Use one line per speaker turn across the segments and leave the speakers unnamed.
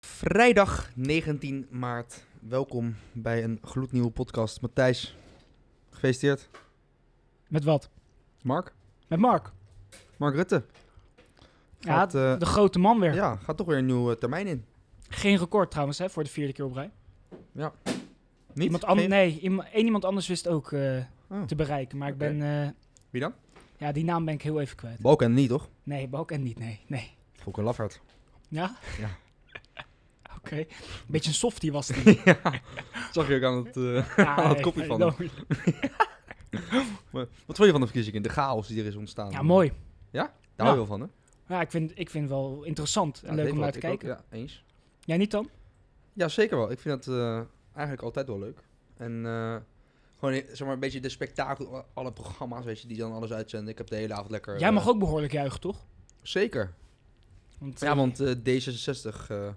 Vrijdag 19 maart. Welkom bij een gloednieuwe podcast. Matthijs, gefeliciteerd.
Met wat?
Mark?
Met Mark.
Mark Rutte.
Ja,
Gaat, eh,
de grote man weer.
ja, gaat toch weer een nieuwe termijn in.
Geen record trouwens, hè, voor de vierde keer op rij.
Niet?
Iemand anders,
Geen-
nee, ima- één iemand anders wist ook eh,
Oh.
te bereiken. Maar ik
Oké.
ben, eh,
Wie dan?
ja, die naam ben ik heel even kwijt.
Balken niet, toch?
Nee, Balk en niet, nee, nee.
Volker Lafaert.
Ja?
Ja.
Oké. Beetje een softie was die.
Zag je ook aan het... eh,
Ja,
Had
hey,
kopje van
hey,
Wat vond je van de verkiezingen? De chaos die er is ontstaan.
Ja, mooi.
Daar hou je
Ja.
wel van, hè?
Ja, ik vind, ik vind het wel interessant en
Ja,
leuk
weet
om
wel,
naar te
ik ook,
kijken.
ja, eens.
Jij niet dan?
Ja, zeker wel. Ik vind dat eh, eigenlijk altijd wel leuk. En eh, gewoon eh, zeg maar, een beetje de spektakel, eh, alle programma's weet je, die dan alles uitzenden. Ik heb de hele avond lekker...
Jij mag
eh,
ook behoorlijk juichen, toch?
Zeker.
Want,
Ja,
eh,
want eh, D66, eh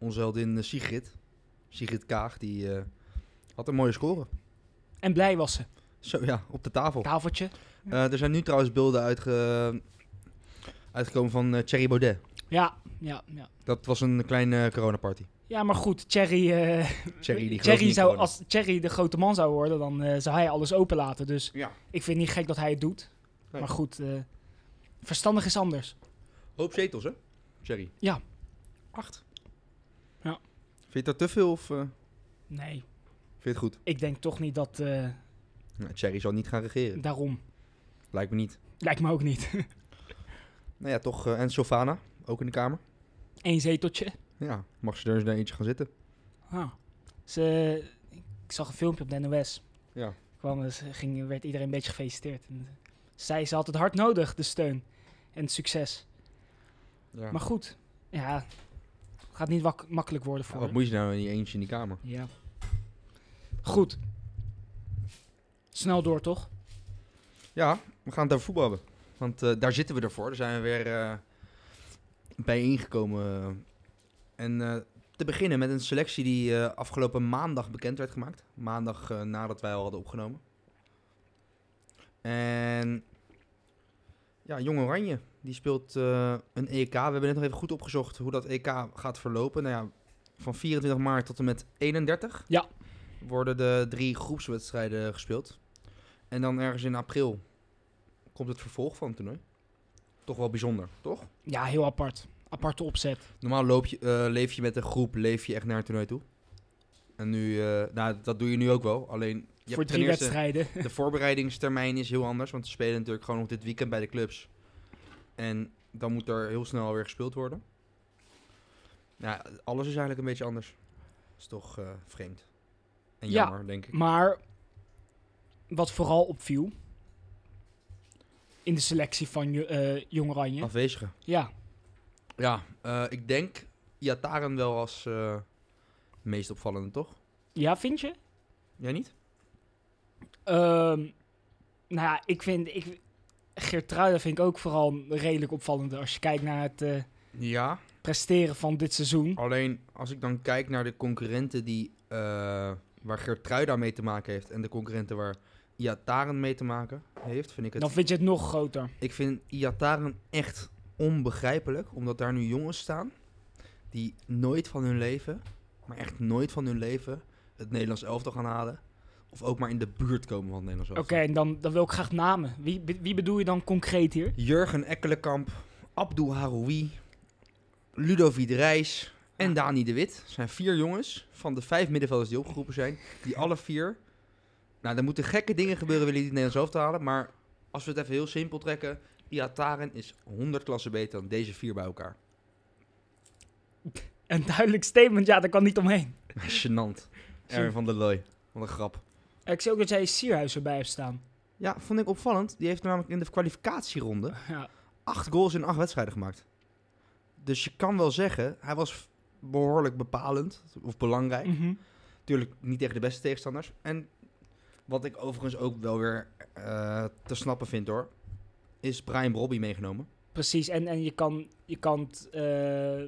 onze heldin eh, Sigrid, Sigrid Kaag, die eh, had een mooie score.
En blij was ze.
Zo ja, op de tafel.
Tafeltje.
Eh, er zijn nu trouwens beelden uitge- uitgekomen van eh, Thierry Baudet.
Ja, ja, ja.
Dat was een kleine eh, coronaparty.
Ja, maar goed, Thierry, eh,
Thierry, die gelooft
Thierry
niet
zou,
corona.
als Thierry de grote man zou worden, dan eh, zou hij alles openlaten. Dus
Ja.
ik vind niet gek dat hij het doet.
Nee.
Maar goed, eh, verstandig is anders.
Hoop zetels, hè? Thierry.
Ja.
Acht.
Ja.
Vind je dat te veel of eh,
Nee,
vind je het goed?
ik denk toch niet dat eh,
Nou, Thierry zal niet gaan regeren.
daarom.
Lijkt me niet.
Lijkt me ook niet.
Nou ja, toch. eh, en Sylvana, ook in de Kamer.
Eén zeteltje.
Ja, mag ze er eens naar eentje gaan zitten.
Ah. Ze, ik zag een filmpje op de NOS.
Ja.
Kwam, eh, ze ging, werd iedereen een beetje gefeliciteerd. En, eh, zij ze had het hard nodig, de steun en het succes.
ja.
Maar goed, ja, het gaat niet wak- makkelijk worden
Ja,
voor
wat moet je nou in je eentje in die kamer?
Ja. Goed. Snel door, toch?
Ja, we gaan het over voetbal hebben. Want eh, daar zitten we ervoor. Daar zijn we weer eh bijeengekomen. En eh, te beginnen met een selectie die eh, afgelopen maandag bekend werd gemaakt. Maandag eh, nadat wij al hadden opgenomen. En ja, Jong Oranje, die speelt eh, een EK. We hebben net nog even goed opgezocht hoe dat EK gaat verlopen. Nou ja, van 24 maart tot en met 31
Ja.
worden de drie groepswedstrijden gespeeld. En dan ergens in april komt het vervolg van het toernooi. Toch wel bijzonder, toch?
Ja, heel apart. Aparte opzet.
Normaal loop je, eh, leef je met een groep, leef je echt naar het toernooi toe. En nu, eh, nou, dat doe je nu ook wel. Alleen, je hebt
voor
ten
drie
eerste-
wedstrijden.
de voorbereidingstermijn is heel anders, want ze spelen natuurlijk gewoon op dit weekend bij de clubs. En dan moet er heel snel weer gespeeld worden. Ja, alles is eigenlijk een beetje anders. Dat is toch eh, vreemd. En
Ja.
jammer, denk ik.
Maar wat vooral opviel in de selectie van Jo- eh Jong Oranje.
Afwezigen.
Ja,
Ja, eh, ik denk Iataren wel als eh, meest opvallende, toch?
ja vind je?
Jij niet?
Ehm, nou ja, ik vind... Ik, Geertruida vind ik ook vooral redelijk opvallend. Als je kijkt naar het eh,
Ja,
presteren van dit seizoen.
alleen als ik dan kijk naar de concurrenten die, eh waar Gertruida mee te maken heeft... en de concurrenten waar Iataren mee te maken heeft, vind ik het...
Dan vind je het nog groter.
Ik vind Iataren echt onbegrijpelijk, omdat daar nu jongens staan die nooit van hun leven, maar echt nooit van hun leven, het Nederlands elftal gaan halen. Of ook maar in de buurt komen van het Nederlands
Oké,
elftal.
en dan, dan wil ik graag namen. Wie, wie bedoel je dan concreet hier?
Jurgen Ekkelenkamp, Abdul Haroui, Ludovic Reis en Dani de Wit. Dat zijn vier jongens van de vijf middenvelders die opgeroepen zijn, die alle vier... Nou, er moeten gekke dingen gebeuren, willen die het Nederlands elftal halen, maar... Als we het even heel simpel trekken, Iataren is 100 klassen beter dan deze vier bij elkaar.
Een duidelijk statement, ja, daar kan niet omheen.
Genant. Erwin van der Looy. Wat een grap.
Ik zie ook dat jij Sierhuis erbij hebt staan.
Ja, vond ik opvallend. Die heeft namelijk in de kwalificatieronde
Ja,
acht goals in acht wedstrijden gemaakt. Dus je kan wel zeggen, hij was behoorlijk bepalend of belangrijk.
Mhm.
Natuurlijk niet tegen de beste tegenstanders. En wat ik overigens ook wel weer eh, te snappen vind hoor, is Brian Brobby meegenomen.
Precies, en, en je kan, je kan het, eh,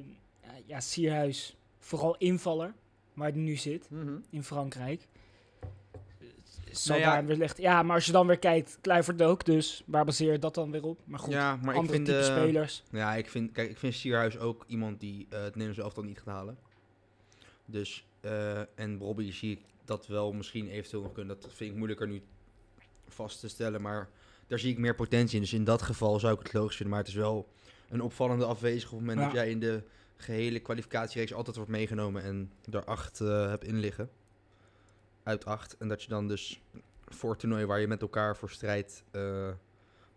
ja, Sierhuis, vooral invaller, waar hij nu zit, in Frankrijk. Zo
Nou ja.
daar wellicht. Ja, maar als je dan weer kijkt, Kluivert ook, dus waar baseer je dat dan weer op? Maar goed,
Ja, maar ik
andere
vind,
type
eh,
spelers.
ja, ik vind, kijk, ik vind Sierhuis ook iemand die eh, het Nederlands elftal niet gaat halen. Dus, eh, en Brobby zie ik dat wel misschien eventueel nog kunnen. Dat vind ik moeilijker nu vast te stellen, maar daar zie ik meer potentie in. Dus in dat geval zou ik het logisch vinden, maar het is wel een opvallende afwezig op het moment
Ja.
dat jij in de gehele kwalificatiereeks altijd wordt meegenomen en er acht eh, hebt inliggen. Uit acht. En dat je dan dus voor het toernooi waar je met elkaar voor strijdt, eh, dan het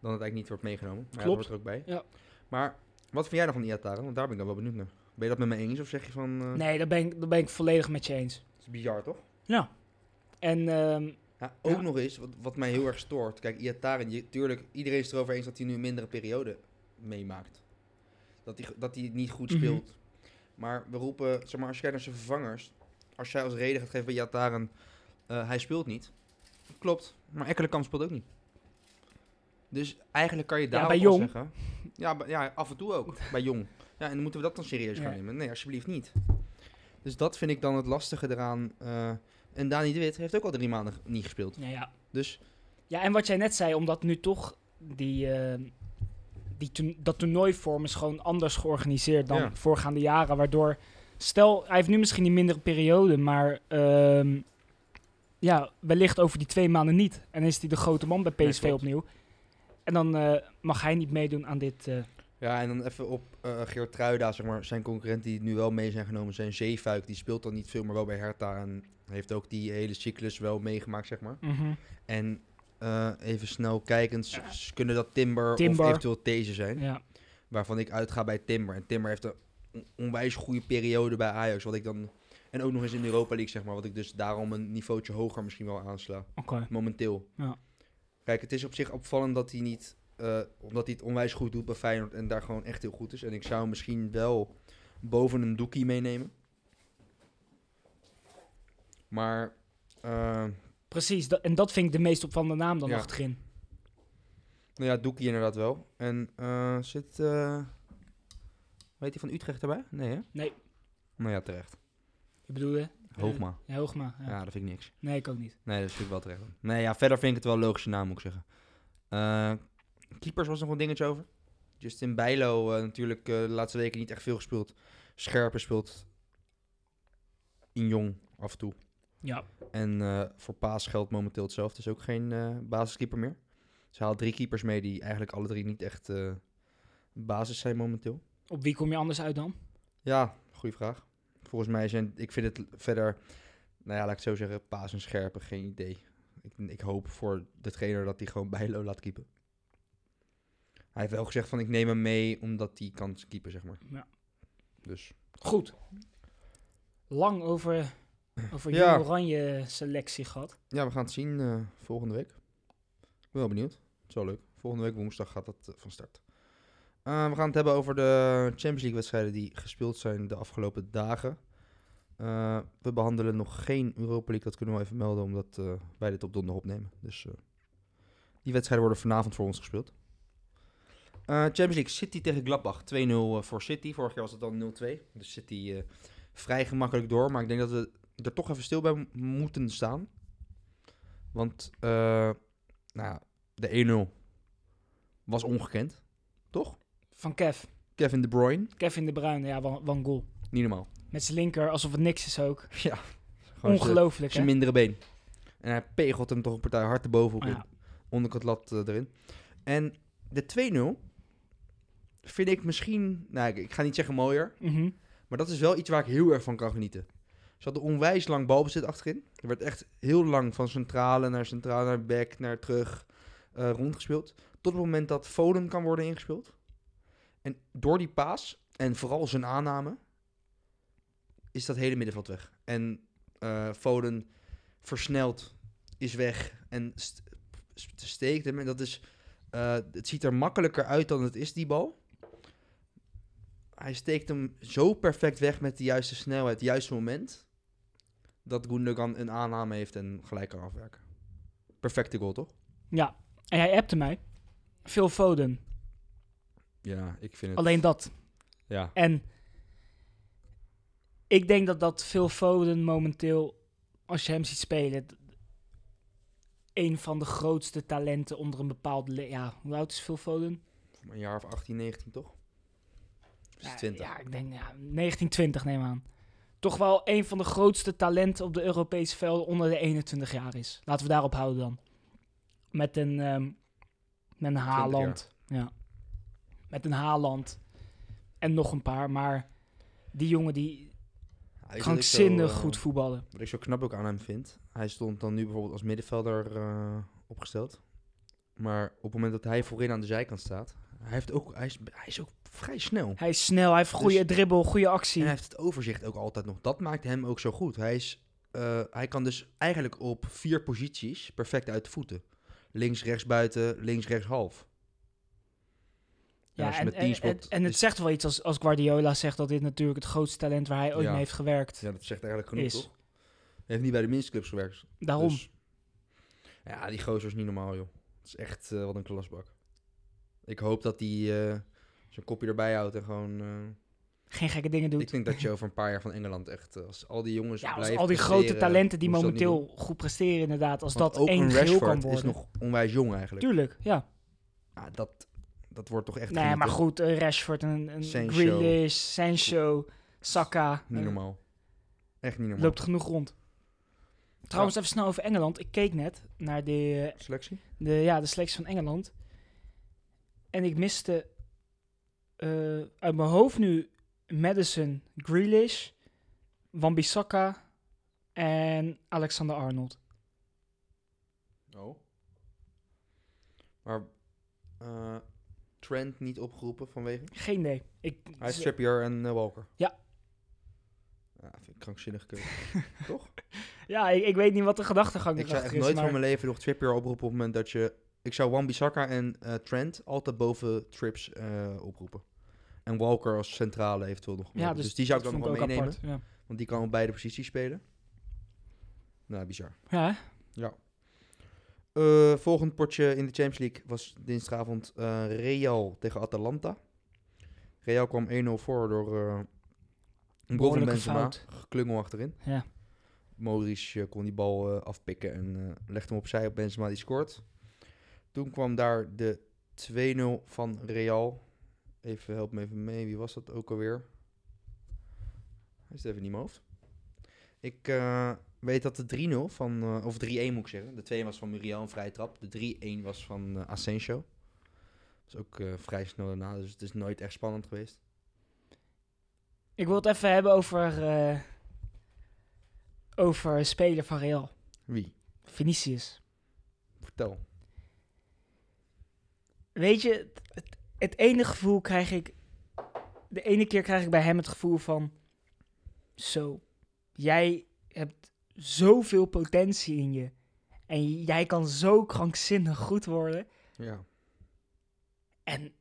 eigenlijk niet wordt meegenomen. Maar ja, dat
Klopt.
hoort er ook bij.
Ja.
Maar wat vind jij dan van Iataren? Want daar ben ik dan wel benieuwd naar. Ben je dat met me eens of zeg je van... eh,
Nee, daar ben, ik, daar ben ik volledig met je eens.
Het is bizar, toch?
En ehm,
Ja, Nou, ook
Ja.
nog eens, wat, wat mij heel erg stoort. Kijk, Iataren, je, tuurlijk, iedereen is het erover eens dat hij nu een mindere periode meemaakt. Dat hij, dat hij niet goed
Mhm.
speelt. Maar we roepen, zeg maar, als je kijkt naar zijn vervangers. Als jij als reden gaat geven bij Iataren, eh, hij speelt niet. Klopt, maar Ekkelenkamp speelt ook niet. Dus eigenlijk kan je daar
bij
ook wel
Jong.
zeggen. Ja, bij- ja, af en toe ook, bij Jong. Ja, en dan moeten we dat dan serieus gaan
Ja.
nemen? Nee, alsjeblieft niet. Dus dat vind ik dan het lastige eraan. eh, en Dani de Wit heeft ook al drie maanden niet gespeeld.
ja, nou ja.
Dus
ja, en wat jij net zei, omdat nu toch die, eh, die toen- dat toernooivorm is gewoon anders georganiseerd dan
Ja.
voorgaande jaren, waardoor... Stel, hij heeft nu misschien die mindere periode, maar ehm, ja, wellicht over die twee maanden niet. En is hij de grote man bij
Nee,
PSV
klopt.
opnieuw. En dan eh, mag hij niet meedoen aan dit... eh,
ja, en dan even op eh Geert Truida, zeg maar, zijn concurrent die nu wel mee zijn genomen, zijn Zeefuik. Die speelt dan niet veel, maar wel bij Hertha. En heeft ook die hele cyclus wel meegemaakt, zeg maar. En eh, even snel kijkend, s- s- kunnen dat Timber,
Timber.
of eventueel These zijn?
Ja.
Waarvan ik uitga bij Timber. En Timber heeft een on- onwijs goede periode bij Ajax. Wat ik dan, en ook nog eens in de Europa League, zeg maar. Wat ik dus daarom een niveautje hoger misschien wel aansla.
Oké.
momenteel.
Ja.
Kijk, het is op zich opvallend dat hij niet, eh, omdat hij het onwijs goed doet bij Feyenoord en daar gewoon echt heel goed is. En ik zou hem misschien wel boven een doekie meenemen. Maar eh,
Precies, da- en dat vind ik de meest opvallende naam dan
Ja.
achterin.
nou ja, doekie inderdaad wel. En eh, zit, eh weet hij van Utrecht erbij? Nee hè?
Nee.
Nou ja, terecht.
Je bedoelde?
Hoogma.
Ja, Hoogma. Ja.
Ja, dat vind ik niks.
Nee, ik ook niet.
Nee, dat is natuurlijk wel terecht. Nee, ja, verder vind ik het wel een logische naam, moet ik zeggen. Eh, keepers was nog een dingetje over. Justin Bijlo eh, natuurlijk eh, de laatste weken niet echt veel gespeeld. Scherper speelt in jong af en toe.
Ja.
En eh, voor Paas geldt momenteel hetzelfde. Is ook geen eh, basiskeeper meer. Ze haalt drie keepers mee die eigenlijk alle drie niet echt eh, basis zijn momenteel.
Op wie kom je anders uit dan?
Ja, goede vraag. Volgens mij zijn, ik vind het verder, nou ja, laat ik het zo zeggen, Paas en Scherpen, geen idee. Ik, ik hoop voor de trainer dat hij gewoon Bijlo laat keepen. Hij heeft wel gezegd van ik neem hem mee omdat hij kan keepen, zeg maar.
Ja.
Dus,
Goed. Lang over, over
Ja.
Jong Oranje selectie gehad.
ja, we gaan het zien eh, volgende week. Ik ben wel benieuwd. Het is wel leuk. Volgende week woensdag gaat dat eh, van start. Eh, we gaan het hebben over de Champions League wedstrijden die gespeeld zijn de afgelopen dagen. Eh, we behandelen nog geen Europa League, dat kunnen we wel even melden, omdat eh, wij dit op donderdag opnemen. Dus eh, die wedstrijden worden vanavond voor ons gespeeld. Eh, Champions League, City tegen Gladbach. 2-0 voor City. Vorig jaar was het dan 0-2. Dus City eh, vrij gemakkelijk door. Maar ik denk dat we er toch even stil bij m- moeten staan. Want eh, nou, ja, de 1-0 was ongekend. Toch?
Van Kev.
Kevin De Bruyne.
Kevin de Bruyne, ja, wa- wan goal.
Niet normaal.
Met zijn linker, alsof het niks is ook.
Ja.
Ongelooflijk, hè?
Zijn mindere been. En hij pegelt hem toch een partij hard de bovenhoek
Oh,
in.
ja.
onderkant lat eh, erin. En de 2-0 vind ik misschien, nou ik, ik ga niet zeggen mooier,
Mhm.
maar dat is wel iets waar ik heel erg van kan genieten. Ze hadden onwijs lang balbezit achterin. Er werd echt heel lang van centrale naar centrale, naar back, naar terug eh, rondgespeeld. Tot het moment dat Foden kan worden ingespeeld. En door die paas en vooral zijn aanname is dat hele middenveld weg. En eh, Foden versnelt, is weg en st- st- steekt hem. En dat is, eh, het ziet er makkelijker uit dan het is, die bal. hij steekt hem zo perfect weg met de juiste snelheid, het juiste moment. Dat Gundogan een aanname heeft en gelijk kan afwerken. Perfecte goal, toch?
Ja, en hij appte mij. Phil Foden.
Ja, ik vind het.
Alleen dat.
Ja.
En ik denk dat dat Phil Foden momenteel, als je hem ziet spelen, d- een van de grootste talenten onder een bepaald... le- Ja, hoe oud is Phil Foden?
Van Een jaar of 18, 19, toch? Dus
Ja,
20.
Ja, ik denk ja, 1920 neem aan. Toch wel een van de grootste talenten op de Europese velden onder de 21 jaar is. Laten we daarop houden dan. Met een, ehm, met een Haaland. Ja. Met een Haaland. En nog een paar. Maar die jongen die
Ja, weet je wat ik zo,
krankzinnig
eh,
goed voetballen.
Wat ik zo knap ook aan hem vind. Hij stond dan nu bijvoorbeeld als middenvelder eh, opgesteld. Maar op het moment dat hij voorin aan de zijkant staat. Hij, heeft ook, hij, is, hij is ook vrij snel.
Hij is snel, hij heeft
Dus
een goede dribbel, goede actie.
En hij heeft het overzicht ook altijd nog. Dat maakt hem ook zo goed. Hij, is, eh, hij kan dus eigenlijk op vier posities perfect uit de voeten. Links, rechts, buiten, links, rechts, half.
Ja,
als je
en,
met Dus
en,
teamspot
en- en het
is-
zegt wel iets als, als Guardiola zegt dat dit natuurlijk het grootste talent waar hij ooit
Ja.
mee heeft gewerkt.
Ja, dat zegt eigenlijk genoeg,
Is.
toch? Hij heeft niet bij de minstclubs gewerkt.
Daarom.
Dus- Ja, die gozer is niet normaal, joh. Het is echt eh, wat een klasbak. Ik hoop dat hij eh, zijn kopje erbij houdt en gewoon... eh,
Geen gekke dingen doet.
ik denk dat je over een paar jaar van Engeland echt... eh, als al die jongens
Ja, als
blijven
al die grote
presteren,
talenten die
hoe ze dat niet doen.
momenteel goed presteren, inderdaad. Als
Want
dat één
een
geheel kan
Rashford
worden.
is nog onwijs jong eigenlijk.
Tuurlijk, ja.
Ja, dat, dat wordt toch echt
Nee,
genieten.
maar goed, eh, Rashford, een, een
Sancho.
Grealish, Sancho, Saka.
Niet
eh,
normaal. Echt niet normaal.
loopt genoeg rond. Trouwens, even snel over Engeland. Ik keek net naar de, eh,
Selectie?
de, ja, de selectie van Engeland. En ik miste eh, uit mijn hoofd nu Madison, Grealish, Wan-Bissaka en Alexander Arnold.
Oh. Maar eh, Trent niet opgeroepen vanwege?
Geen idee. Ik,
Hij is Trippier en eh, Walker.
Ja.
Ja, vind ik krankzinnig keuze.
Ja, ik, ik weet niet wat de gedachtegang
ik zou
erachter
echt
is,
nooit
maar
van mijn leven nog Trippier oproepen op het moment dat je... Ik zou Wan-Bissaka en eh, Trent altijd boven Trips eh, oproepen. En Walker als centrale eventueel nog.
Ja,
dus, dus die zou ik
dat
dan nog
vond
wel
ik ook
meenemen.
apart,
Want die kan op beide posities spelen. Nou, bizar.
Ja, ja hè?
Eh, volgend potje in de Champions League was dinsdagavond eh, Real tegen Atalanta. Real kwam 1-0 voor door eh een goal van
Behoorlijke
Benzema.
fout.
Klungel achterin.
Ja.
Modric eh, kon die bal eh, afpikken en eh, legde hem opzij op Benzema, die scoort. Toen kwam daar de 2-0 van Real. Even, help me even mee, wie was dat ook alweer? Hij zit even niet in mijn hoofd. Ik eh, weet dat de 3-0 van, eh, of 3-1 moet ik zeggen. De 2 was van Muriel, een vrije trap. De 3-1 was van eh Asensio. Dat is ook eh, vrij snel daarna, dus het is nooit echt spannend geweest.
Ik wil het even hebben over, eh, over een speler van Real.
Wie?
Vinicius.
Vertel.
Weet je, het, het, het ene gevoel krijg ik... De ene keer krijg ik bij hem het gevoel van... Zo, jij hebt zoveel potentie in je. En jij kan zo krankzinnig goed worden.
Ja.
En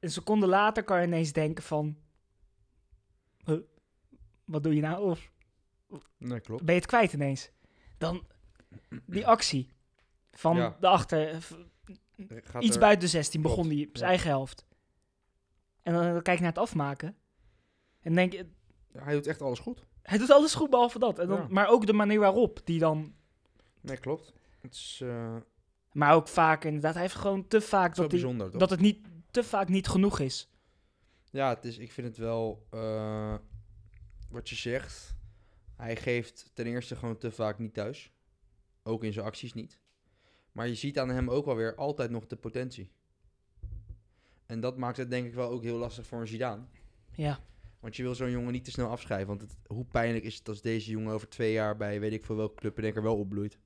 een seconde later kan je ineens denken van... "Huh? wat doe je nou? Of
Nee, klopt.
ben je het kwijt ineens. Dan die actie van
Ja.
de achter... v-
Gaat
iets
er-
buiten de 16
Klopt,
begon die op zijn
ja.
eigen helft. En dan, dan kijk je naar het afmaken. En denk je,
Hij doet echt alles goed.
hij doet alles goed behalve dat. En dan,
Ja.
Maar ook de manier waarop die dan...
Nee, klopt. Het is eh,
Maar ook vaak inderdaad. Hij heeft gewoon te vaak
zo
dat, die,
bijzonder, toch?
dat het niet, te vaak niet genoeg is.
Ja, het is, ik vind het wel eh, wat je zegt. Hij geeft ten eerste gewoon te vaak niet thuis. Ook in zijn acties niet. Maar je ziet aan hem ook wel weer altijd nog de potentie. En dat maakt het denk ik wel ook heel lastig voor een Zidane.
Ja,
Want je wil zo'n jongen niet te snel afschrijven. Want het, hoe pijnlijk is het als deze jongen over twee jaar bij weet ik veel welke club in één keer wel opbloeit.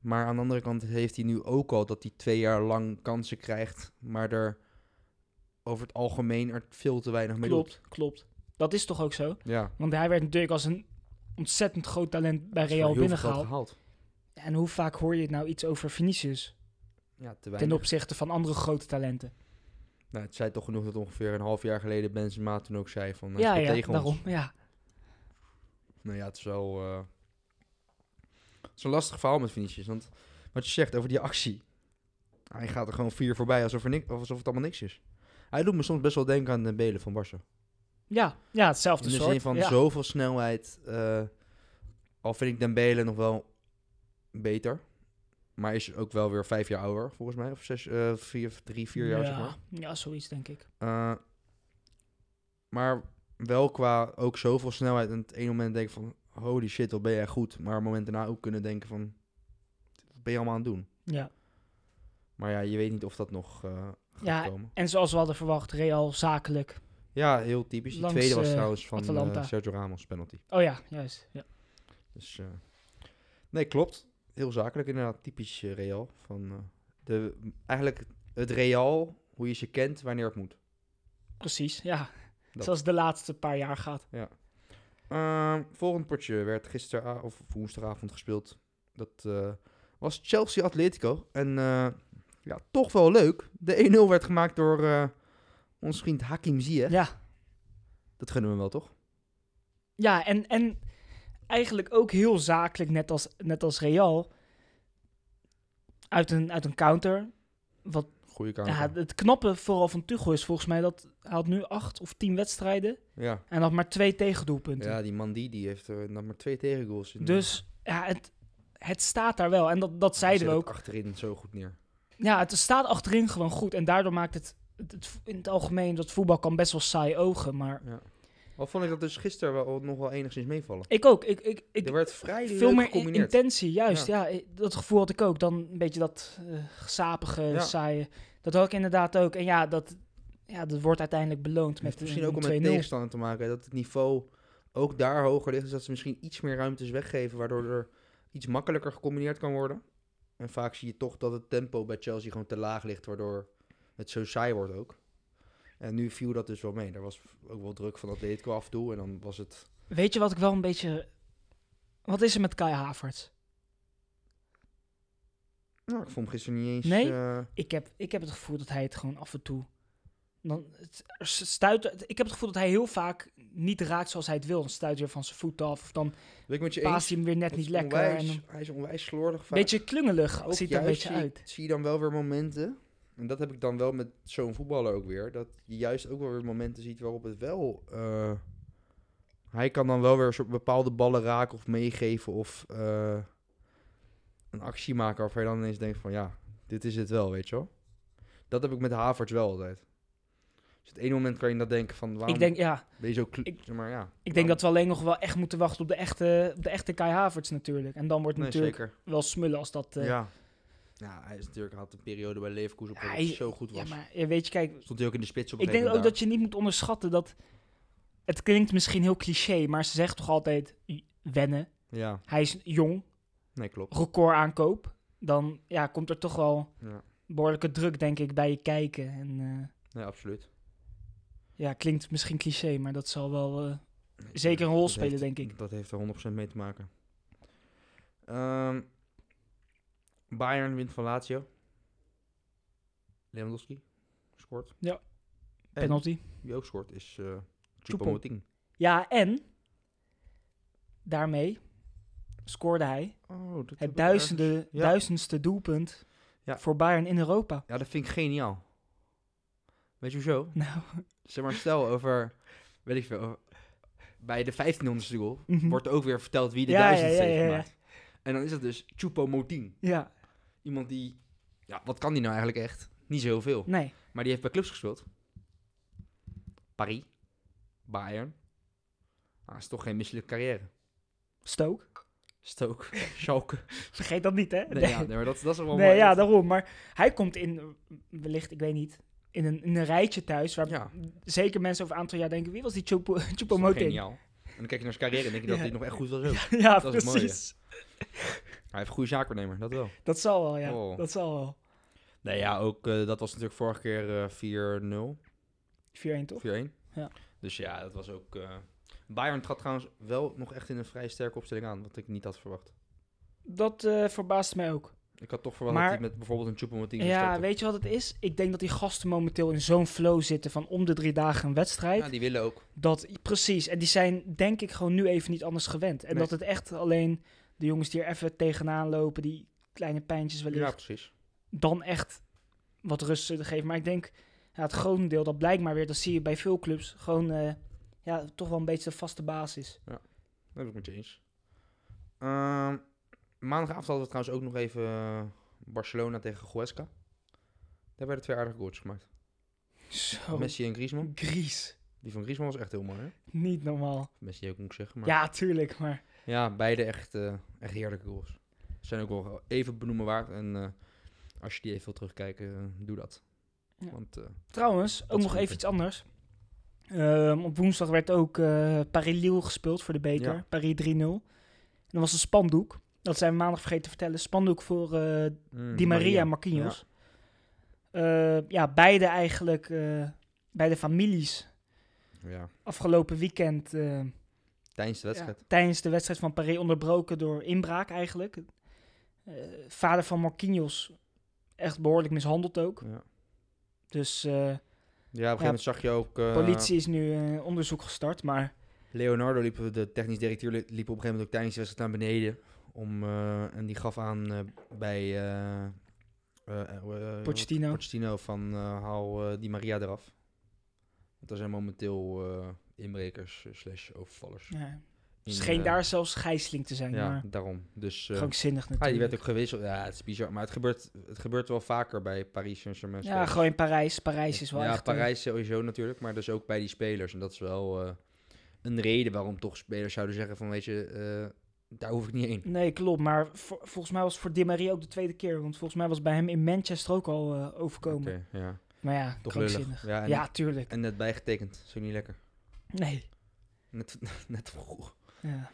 Maar aan de andere kant heeft hij nu ook al dat hij twee jaar lang kansen krijgt. Maar er over het algemeen er veel te weinig mee
klopt, klopt. Dat is toch ook zo?
doet. Ja.
Want hij werd natuurlijk als een ontzettend groot talent bij
Het is voor
Real
heel veel geld
binnengehaald.
gehaald.
En hoe vaak hoor je nou iets over Vinicius
Ja, te weinig.
ten opzichte van andere grote talenten?
Nou, het zei toch genoeg dat ongeveer een half jaar geleden Benzema toen ook zei van... hij
ja,
speelt
ja,
tegen
daarom.
ons.
Ja.
Nou ja, het is wel... eh, het is een lastig verhaal met Vinicius. Want wat je zegt over die actie. Hij gaat er gewoon vier voorbij alsof, er nik- alsof het allemaal niks is. Hij doet me soms best wel denken aan de belen van Barça.
Ja, ja, hetzelfde
In de
soort.
zin van
ja.
zoveel snelheid. eh, al vind ik Dembele nog wel beter. Maar is ook wel weer vijf jaar ouder, volgens mij. Of zes, eh, vier, drie, vier jaar,
ja.
zeg maar.
Ja, zoiets denk ik.
Eh, maar wel qua ook zoveel snelheid. En het ene moment denken van... Holy shit, wat ben jij goed. Maar het moment daarna ook kunnen denken van... Wat ben je allemaal aan het doen?
Ja.
Maar ja, je weet niet of dat nog eh, gaat
Ja,
komen.
En zoals we hadden verwacht, Real zakelijk.
Ja, heel typisch. Die
langs,
tweede was
eh,
trouwens van eh,
Atalanta.
Sergio Ramos penalty.
Oh ja, juist. Ja.
Dus, eh, nee, klopt. Heel zakelijk inderdaad. Typisch eh, Real. Van, eh, de, eigenlijk het Real, hoe je ze kent, wanneer het moet.
Precies, ja.
Dat.
Zoals de laatste paar jaar gaat.
Ehm, volgend potje werd gisteren of woensdagavond gespeeld. Dat eh, was Chelsea Atletico. En eh, ja, toch wel leuk. De 1-0 werd gemaakt door eh ons vriend Hakim Ziyech.
Ja,
Dat gunnen we hem wel, toch?
ja en, en eigenlijk ook heel zakelijk, net als, net als Real. Uit een, uit een counter. Wat,
Goeie kaart.
ja, het knappe vooral van Tuchel is volgens mij dat hij had nu acht of tien wedstrijden.
Ja.
En had maar twee tegendoelpunten.
ja, die Mandi die heeft er nog maar twee tegengoals. in. eh,
Dus ja, het, het staat daar wel. En dat, dat
Hij
zeiden we
zet het
ook.
achterin zo goed neer.
Ja, het staat achterin gewoon goed. En daardoor maakt het, het, het- in het algemeen dat voetbal kan best wel saai ogen. Maar
Al vond ik dat dus gisteren wel, nog wel enigszins meevallen.
ik ook. Ik, ik, ik,
er werd vrij
veel
leuk
meer in-
gecombineerd.
intentie, juist. Ja. eh, dat gevoel had ik ook. Dan een beetje dat eh sapige,
Ja.
saaie. Dat had ik inderdaad ook. En ja, dat, ja, dat wordt uiteindelijk beloond
Het heeft
met
misschien
een
ook om met
2-0.
tegenstander te maken. hè, Dat het niveau ook daar hoger ligt. Dus dat ze misschien iets meer ruimtes weggeven. Waardoor er iets makkelijker gecombineerd kan worden. En vaak zie je toch dat het tempo bij Chelsea gewoon te laag ligt. Waardoor het zo saai wordt ook. En nu viel dat dus wel mee. Er was ook wel druk van Atletico af en toe. En dan was het...
Weet je wat ik wel een beetje... Wat is er met Kai Havertz?
Nou, ik vond hem gisteren niet eens...
Nee?
eh,
Ik heb, ik heb het gevoel dat hij het gewoon af en toe. Dan, het, er stuit, ik heb het gevoel dat hij heel vaak niet raakt zoals hij het wil. Dan stuit hij weer van zijn voet af. Of dan
ben ik met je eens.
paast hij hem weer net
Het
niet
is
lekker.
onwijs-
en dan-
hij is onwijs slordig vaak.
beetje klungelig
Ook
ziet er een
juist
beetje
zie-
uit.
Zie je dan wel weer momenten. En dat heb ik dan wel met zo'n voetballer ook weer. Dat je juist ook wel weer momenten ziet waarop het wel. eh, hij kan dan wel weer soort bepaalde ballen raken of meegeven of eh, een actie maken waarvan je dan ineens denkt van ja, dit is het wel, weet je wel. Dat heb ik met Havertz wel altijd. Dus het ene moment kan je dat denken van waarom
Ik denk, ja,
ben je zo... kle-
ik-
zeg maar, ja,
ik denk dat we alleen nog wel echt moeten wachten op de echte, op de echte Kai Havertz natuurlijk. En dan wordt het
Nee,
natuurlijk
zeker.
wel smullen als dat... eh, ja.
Ja. ja, hij is natuurlijk hij had een periode bij Leverkusen op
Ja,
dat
hij-
hij zo goed was.
maar ja, weet je, kijk,
Stond hij ook in de spits op een
ik denk
gegeven
ook
moment
dat je niet moet onderschatten dat... Het klinkt misschien heel cliché, maar ze zegt toch altijd "I- wennen.
daar. Ja,
Hij is jong,
nee, klopt.
record aankoop, dan ja, komt er toch wel
Ja.
behoorlijke druk, denk ik, bij je kijken. En eh,
Nee, absoluut.
ja, klinkt misschien cliché, maar dat zal wel. eh, Zeker een rol
Dat
spelen,
heeft-
denk ik.
Dat heeft er 100% mee te maken. Ehm, Bayern wint van Lazio. Lewandowski scoort.
Ja.
En
penalty.
wie ook scoort is eh
Choupo.
Choupo-Moting.
Ja, en daarmee scoorde hij
Oh, dat heb
het
ik dus?
duizende,
Ja.
duizendste doelpunt
Ja.
voor Bayern in Europa.
Ja, dat vind ik geniaal. Weet je hoezo?
Nou,
Zeg maar, stel over, weet ik veel, over- bij de 1500ste goal
mhm.
wordt ook weer verteld wie de
Ja, ja,
duizendste
ja,
heeft
ja, ja.
gemaakt. En dan is dat dus Choupo-Moting.
ja,
Iemand die, ja, wat kan die nou eigenlijk echt? Niet zoveel.
nee.
Maar die heeft bij clubs gespeeld. Paris, Bayern. Ah, is toch geen misselijke carrière.
Stoke.
Stoke, Schalke.
Vergeet dat niet, hè?
Nee, ja, nee maar dat, dat is wel
Nee,
mooi.
ja,
dat,
daarom. Maar hij komt in, wellicht, ik weet niet, in een, in een rijtje thuis waar
Ja.
zeker mensen over een aantal jaar denken, wie was die Choupo-
is toch
Choupo-Moting?
geniaal. En dan kijk je naar zijn carrière en denk je dat
Ja.
dit nog echt goed was ook.
Ja,
Dat is het
precies.
Hij heeft een goede zaakwaarnemer, dat wel.
Dat zal wel, ja.
Oh.
Dat zal wel.
Nee, ja, ook eh, dat was natuurlijk vorige keer eh, 4-0,
4-1 toch?
4-1.
Ja.
Dus ja, dat was ook... eh, Bayern trad trouwens wel nog echt in een vrij sterke opstelling aan, wat ik niet had verwacht.
Dat eh verbaast mij ook.
Ik had toch verwacht
Maar-
dat hij met bijvoorbeeld een Choupo-Moting zou
Ja,
starten.
weet je wat het is? Ik denk dat die gasten momenteel in zo'n flow zitten van om de drie dagen een wedstrijd.
Ja, die willen ook.
Dat, precies. En die zijn denk ik gewoon nu even niet anders gewend. En
Nee.
dat het echt alleen de jongens die er even tegenaan lopen, die kleine pijntjes wellicht,
Ja, precies. dan
dan echt wat rust zullen geven. Maar ik denk, ja, het grotendeel, dat blijkt maar weer, dat zie je bij veel clubs, gewoon eh, ja, toch wel een beetje de vaste basis.
heb ik met je eens. Ehm, maandagavond hadden we trouwens ook nog even eh, Barcelona tegen Goesca. Daar werden twee aardige goals gemaakt.
Zo.
Messi en Griezmann.
Gries.
Die van Griezmann was echt heel mooi, hè?
Niet normaal.
Messi ook, moet ik zeggen. Maar...
Ja, tuurlijk, maar
Ja, beide echt, eh, echt heerlijke goals. Zijn ook wel even benoemen waard. En eh, als je die even wil terugkijken, eh, doe dat.
Ja.
Want eh,
Trouwens, ook
is
nog
goed,
even
hè.
iets anders. Ehm, op woensdag werd ook eh Paris-Lille gespeeld voor de beker.
Ja.
Paris 3-0. En dat was een spandoek. Dat zijn we maandag vergeten te vertellen. Spandoek voor eh,
mm,
Di Maria en Marquinhos. Ja. ja, beide eigenlijk, eh beide families.
Ja. ja,
Afgelopen weekend eh,
tijdens de wedstrijd.
ja, tijdens de wedstrijd van Paris onderbroken door inbraak eigenlijk. Eh, vader van Marquinhos echt behoorlijk mishandeld ook.
Ja, ja. op
Dus eh,
een gegeven moment zag je ook... eh,
politie is nu eh, onderzoek gestart, maar...
Leonardo liep, de technisch directeur, li- liep op een gegeven moment ook tijdens de wedstrijd naar beneden. Om, eh, en die gaf aan eh, bij eh, eh, eh, hoe, eh,
Pochettino.
Pochettino van eh, haal eh, die Maria eraf. Want er zijn momenteel eh, inbrekers eh, slash overvallers.
Ja.
in,
Scheen
eh,
daar zelfs gijsling te zijn,
Ja,
maar
daarom. Dus eh,
krankzinnig
ah,
natuurlijk.
die werd ook gewisseld. Ja, het is bizar. Maar het gebeurt, het gebeurt wel vaker bij Paris Saint-Germain.
ja, gewoon in Parijs. Parijs is wel
ja,
echt... eh,
Parijs sowieso natuurlijk, maar dus ook bij die spelers. En dat is wel eh, een reden waarom toch spelers zouden zeggen van, weet je, eh, daar hoef ik niet heen.
Nee, klopt. Maar vo- volgens mij was het voor Di Maria ook de tweede keer. Want volgens mij was het bij hem in Manchester ook al eh, overkomen.
Oké, ja.
Maar ja,
Toch
krankzinnig.
lullig. Ja, en,
Ja, tuurlijk.
en net bijgetekend. Zo niet lekker.
Nee.
Net, net vroeg.
Ja,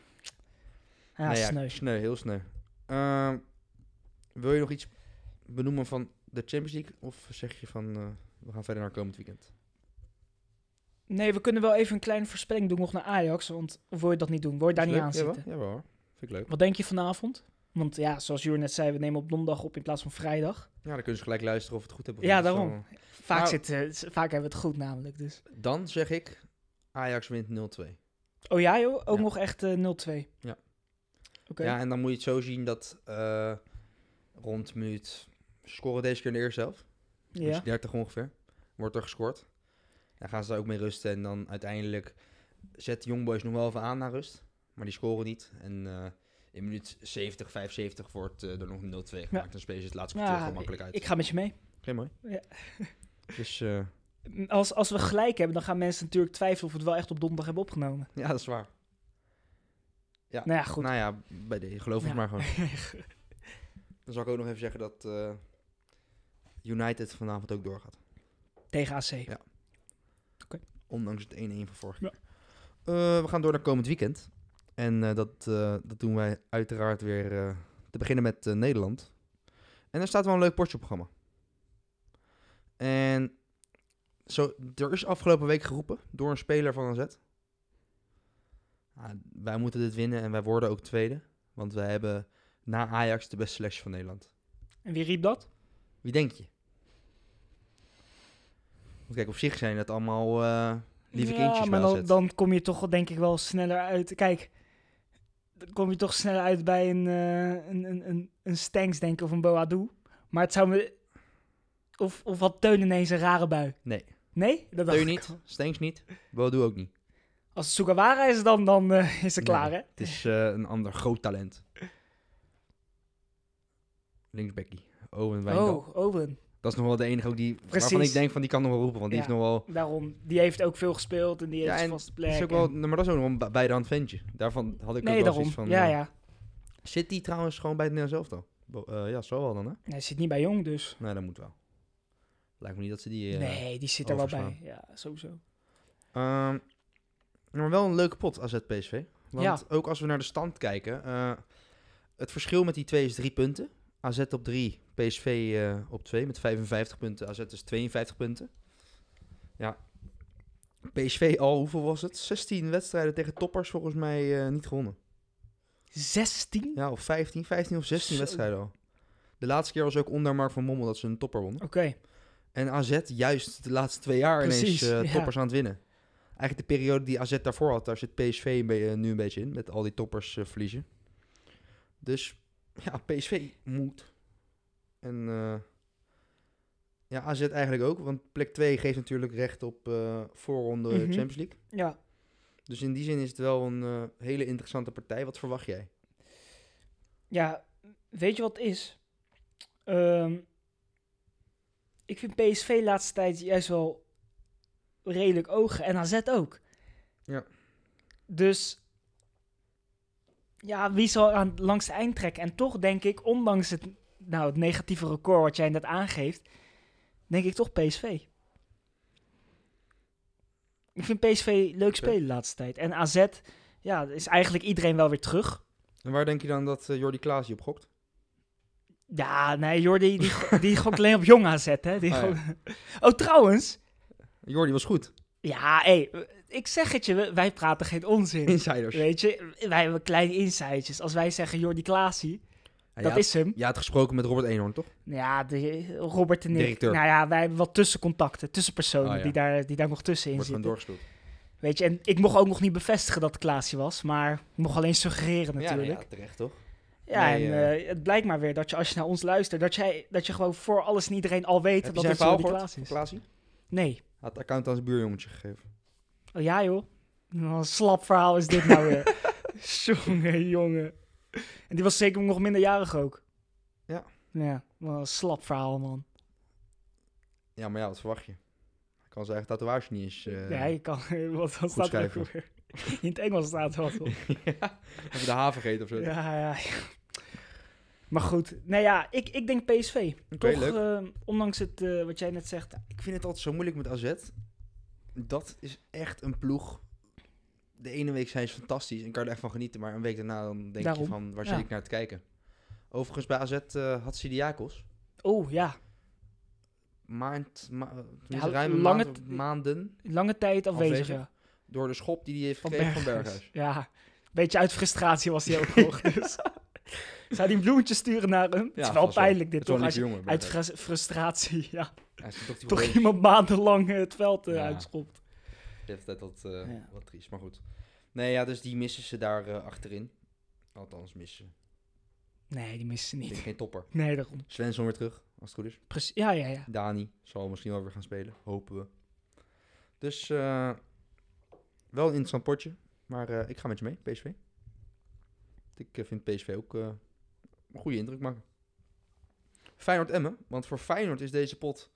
ja
Nee,
sneu.
nou Sneu, heel sneu. Ehm, wil je nog iets benoemen van de Champions League? Of zeg je van, eh, we gaan verder naar komend weekend?
Nee, we kunnen wel even een kleine voorspelling doen nog naar Ajax. Want of wil je dat niet doen? Wil je daar
Is
niet
leuk?
aan
Jawel,
zitten?
Jawel hoor. Vind ik leuk.
Wat denk je vanavond? Want ja, zoals Jur net zei, we nemen op donderdag op in plaats van vrijdag.
Ja, dan kunnen ze gelijk luisteren of we het goed hebben.
Ja,
gedaan.
daarom.
Dat is
Vaak,
Nou-
zitten, vaak hebben we het goed namelijk, dus...
wel- Dan zeg ik, Ajax wint 0-2.
Oh ja, joh? Ook
Ja.
nog echt eh, 0-2.
Ja.
Oké.
Ja, en dan moet je het zo zien dat eh, rond minuut... ze Scoren deze keer in de eerste helft.
Ja.
Dus 30 ongeveer. Wordt er gescoort. Dan gaan ze daar ook mee rusten. En dan uiteindelijk zet de Young Boys nog wel even aan naar rust. Maar die scoren niet. En eh, in minuut 70, 75 wordt eh, er nog een 0-2 gemaakt. En spelen ze het laatste kwartier
Ja,
gewoon makkelijk uit.
Ik ga met je mee.
Oké, mooi.
Ja.
Dus eh,
Als, als we gelijk hebben, dan gaan mensen natuurlijk twijfelen of we het wel echt op donderdag hebben opgenomen.
ja, dat is waar.
Nou ja, goed.
Nou ja, bij de, geloof
Ja.
het maar gewoon. Dan zal ik ook nog even zeggen dat eh, United vanavond ook doorgaat.
Tegen AC.
Ja. Ondanks het 1-1 van vorige keer. Eh, we gaan door naar komend weekend. En eh, dat, eh, dat doen wij uiteraard weer eh, te beginnen met eh, Nederland. En er staat wel een leuk potje op het programma. En zo, er is afgelopen week geroepen door een speler van AZ. "Ah, wij moeten dit winnen en wij worden ook tweede. Want wij hebben na Ajax de beste selectie van Nederland.
En wie riep dat?
Wie denk je? Want kijk, op zich zijn dat allemaal eh, lieve
ja,
kindjes
maar
bij
dan,
AZ.
dan kom je toch wel, denk ik wel sneller uit. Kijk, dan kom je toch sneller uit bij een, eh een, een, een, een Stanks, denk ik, of een Boadu. Maar het zou me... Of, of had Teun ineens een rare bui?
Nee.
Nee? Dat dacht
Teun
ik
niet,
al.
Stenks niet, Bodo ook niet.
Als het Sugawara is, dan, dan eh, is het
Nee.
klaar, hè?
Het is eh, een ander groot talent. Linksbackie, Owen Wijndal.
Oh, Owen.
Dat is nog wel de enige ook die, waarvan
Precies.
ik denk van die kan nog wel roepen. Want die
Ja.
heeft nog wel...
Daarom, die heeft ook veel gespeeld en die
Ja,
heeft
en
een vaste plek.
is ook
en-
wel nou, maar dat is ook nog een bij- bij de hand ventje. Daarvan had ik
nee,
ook wel zoiets
daarom.
van...
ja,
eh,
ja.
Zit die trouwens gewoon bij het Nederlands elftal? Bo- eh, ja, zo wel dan, hè?
Hij zit niet bij Jong, dus.
Nee, dat moet wel. Lijkt me niet dat ze die... eh,
nee, die zit er wel bij.
overslaan.
Ja, sowieso.
Ehm, maar wel een leuke pot AZ PSV. Want
Ja.
ook als we naar de stand kijken, eh, het verschil met die twee is drie punten. AZ op drie, PSV eh, op twee met 55 punten. AZ is 52 punten. Ja. PSV al, hoeveel was het? 16 wedstrijden tegen toppers volgens mij eh, niet gewonnen.
16?
Ja, of 15, 15 of 16
Zo.
wedstrijden al. De laatste keer was ook onder Mark van Mommel dat ze een topper wonnen.
Oké,
En AZ juist de laatste twee jaar
Precies,
ineens eh,
ja.
toppers aan het winnen. Eigenlijk de periode die AZ daarvoor had, daar zit PSV een be- eh, nu een beetje in. Met al die toppers eh, verliezen. Dus ja, PSV moet. En eh, ja, AZ eigenlijk ook. Want plek 2 geeft natuurlijk recht op eh, voorronde
Mhm.
Champions League.
ja.
Dus in die zin is het wel een eh, hele interessante partij. Wat verwacht jij?
Ja, weet je wat het is? Ehm, ik vind PSV laatste tijd juist wel redelijk ogen. En AZ ook.
Ja.
Dus ja, wie zal aan, langs de eind trekken? En toch denk ik, ondanks het, nou, het negatieve record wat jij net aangeeft, denk ik toch PSV. Ik vind PSV leuk spelen de laatste tijd. En AZ, ja, is eigenlijk iedereen wel weer terug.
En waar denk je dan dat eh, Jordi Klaas je op gokt?
Ja, nee, Jordi, die, go- die gokt alleen op jong AZ, hè. Die
Oh,
go- oh, trouwens.
Jordi was goed.
Ja, hé, ik zeg het je, we- wij praten geen onzin.
Insiders.
Weet je, wij hebben kleine insightjes. Als wij zeggen Jordi Klaasie,
Ja,
dat
je,
is hem.
had, je had gesproken met Robert Eenhoorn, toch?
Ja, de, Robert en ik.
Directeur.
Nou ja, wij hebben wat tussencontacten, tussenpersonen
Ah, ja.
die, daar, die daar nog tussenin
Wordt gewoon
zitten.
doorgespeeld.
Weet je, en ik mocht ook nog niet bevestigen dat het Klaasie was, maar ik mocht alleen suggereren natuurlijk.
Ja, terecht toch?
Ja,
Nee,
en
eh,
eh, het blijkt maar weer dat je als je naar ons luistert, dat, jij, dat je gewoon voor alles en iedereen al weet
Heb je
dat
zijn
het
verhaal
Jordi
gehoord
Klaas
van
is.
Klaasie? Hij
Nee.
had het account aan zijn buurjongetje gegeven.
Oh ja, joh. Wat een slap verhaal is dit nou weer. jongen, jongen. En die was zeker nog minderjarig ook.
Ja.
Ja, wat een slap verhaal, man.
Ja, maar ja, wat verwacht je? Hij kan zijn eigen tatoeage niet eens... eh,
ja, je kan... Wat, wat staat er ook
schrijven.
weer? In het Engels staat er wat op.
Even de haven gegeten of zo.
ja, ja. Maar goed. Nou ja, ik, ik denk PSV.
Oké,
Toch,
leuk.
eh, ondanks het, eh, wat jij net zegt.
Ik vind het altijd zo moeilijk met AZ. Dat is echt een ploeg. De ene week zijn ze fantastisch en kan je er echt van genieten. Maar een week daarna dan denk
Daarom.
je van, waar
Ja.
zit ik naar te kijken? Overigens, bij AZ eh, had Sidiakos
Oh, ja.
maand, ma eh, tenminste
Ja,
ruime
lange
maand-
t-
maanden
Lange tijd afwezig,
Afwezig.
ja.
door de schop die hij heeft
Van
gekregen
Berghuis.
van Berghuis.
Ja. Beetje uit frustratie was hij ook nog. Dus. Zou die een bloemetje sturen naar hem? het is wel
vast
pijnlijk dit,
Het is
toch?
wel een
Als je-
lieve jongen,
Uit
Berghuis.
fras- frustratie, ja.
Hij is toch die
Toch
verdediging.
iemand maandenlang eh, het veld eh,
Ja.
uitschopt.
De hele tijd wat, eh,
Ja.
wat triest, maar goed. Nee, ja, dus die missen ze daar eh, achterin. Althans, missen. ze.
Nee, die mist ze
Ik denk
niet.
geen topper.
Nee, daarom.
Svensson weer terug, als het goed is.
Precies. Ja, ja, ja.
Dani zal misschien wel weer gaan spelen, hopen we. Dus eh, wel een interessant potje. Maar eh, ik ga met je mee, PSV. Ik eh, vind PSV ook eh, een goede indruk maken. Feyenoord-Emmen, want voor Feyenoord is deze pot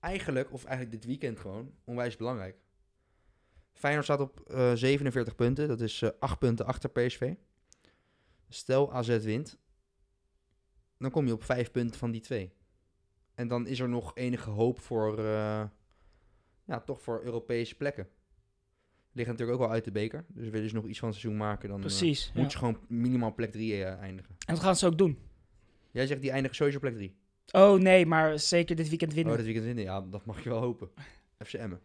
eigenlijk, of eigenlijk dit weekend gewoon, onwijs belangrijk. Feyenoord staat op eh, 47 punten, dat is eh 8 punten achter PSV. Stel AZ wint, dan kom je op 5 punten van die twee. En dan is er nog enige hoop voor, eh, ja, toch voor Europese plekken. Liggen natuurlijk ook wel uit de beker, dus willen ze nog iets van het seizoen maken, dan eh,
Precies. ja.
moet je gewoon minimaal plek 3 eindigen.
En dat gaan ze ook doen.
Jij zegt die eindigen sowieso op plek 3.
Oh nee, maar zeker dit weekend
Oh,
winnen.
dat weekend winnen. Ja, dat mag je wel hopen. FC Emmen.